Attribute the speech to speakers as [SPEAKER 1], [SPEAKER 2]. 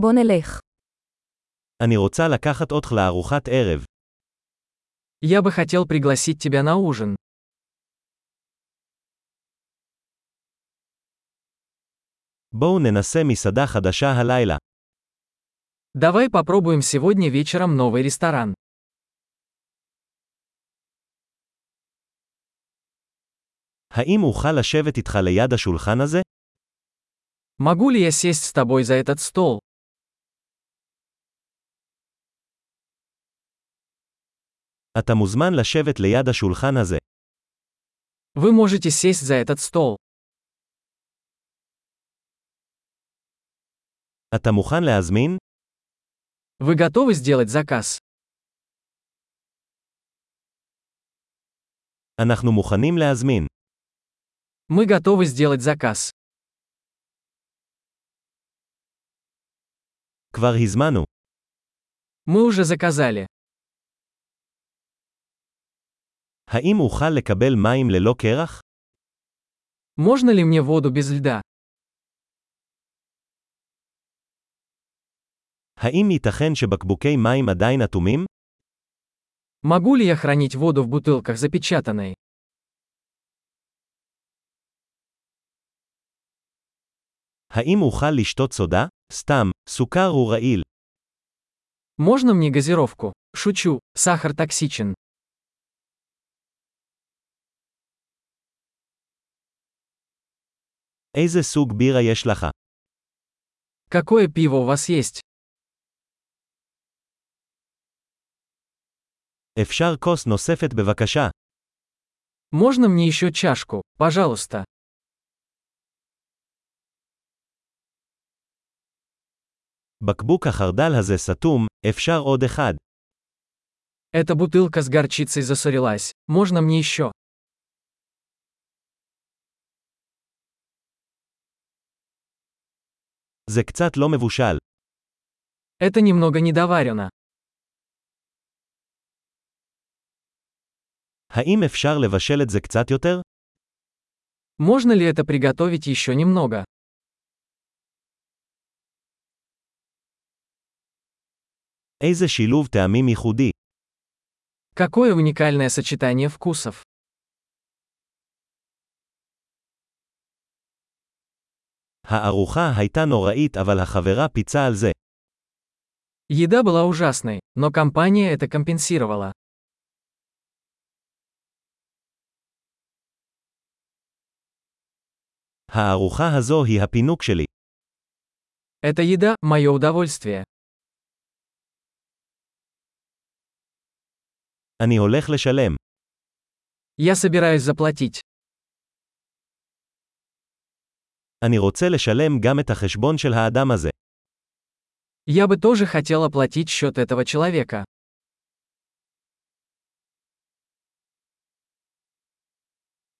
[SPEAKER 1] בוא נלך.
[SPEAKER 2] אני רוצה לקחת אותך לארוחת ערב.
[SPEAKER 3] Я бы хотел пригласить тебя на ужин.
[SPEAKER 2] בואו ננסה מסעדה חדשה הלילה.
[SPEAKER 3] Давай попробуем сегодня вечером новый ресторан.
[SPEAKER 2] האם אוכל לשבת איתך ליד השולחן הזה?
[SPEAKER 3] Могу ли я сесть с тобой за этот стол?
[SPEAKER 2] אתה מוזמן לשבת ליד השולחן הזה.
[SPEAKER 3] Вы можете сесть за этот стол.
[SPEAKER 2] אתה מוכן להזמין?
[SPEAKER 3] Вы готовы сделать заказ?
[SPEAKER 2] אנחנו מוכנים להזמין.
[SPEAKER 3] Мы готовы сделать заказ.
[SPEAKER 2] כבר הזמנו.
[SPEAKER 3] Мы уже заказали.
[SPEAKER 2] האם אוכל לקבל מים ללא קרח?
[SPEAKER 3] Можно ли мне воду без льда?
[SPEAKER 2] האם ייתכן שבקבוקי מים עדיין אטומים?
[SPEAKER 3] Могу ли я хранить воду в бутылках запечатанной?
[SPEAKER 2] האם אוכל לשתות סודה? סתם, סוכר הוא רעיל.
[SPEAKER 3] Можно мне газировку? Шучу, сахар токсичен.
[SPEAKER 2] איזה סוג בירה יש לך?
[SPEAKER 3] Какое пиво у вас есть?
[SPEAKER 2] אפשר כוס נוספת בבקשה.
[SPEAKER 3] Можно мне еще чашку, пожалуйста?
[SPEAKER 2] בקבוק החרדל הזה סתום, אפשר עוד אחד.
[SPEAKER 3] Эта бутылка с горчицей засорилась. Можно мне еще?
[SPEAKER 2] זה קצת לא מבושל.
[SPEAKER 3] Это немного недоварено.
[SPEAKER 2] האם אפשר לבשל את זה קצת יותר?
[SPEAKER 3] Можно ли это приготовить еще немного?
[SPEAKER 2] איזה שילוב טעמים ייחודי.
[SPEAKER 3] Какое уникальное сочетание вкусов.
[SPEAKER 2] הארוחה הייתה נוראית אבל החברה פיצה על זה.
[SPEAKER 3] Еда была ужасной, но компания это компенсировала.
[SPEAKER 2] הארוחה הזו היא הפינוק שלי.
[SPEAKER 3] Эта еда – мое удовольствие.
[SPEAKER 2] אני הולך לשלם.
[SPEAKER 3] Я собираюсь заплатить.
[SPEAKER 2] אני רוצה לשלם גם את החשבון של האדם הזה.
[SPEAKER 3] Я бы тоже хотел оплатить счет этого человека.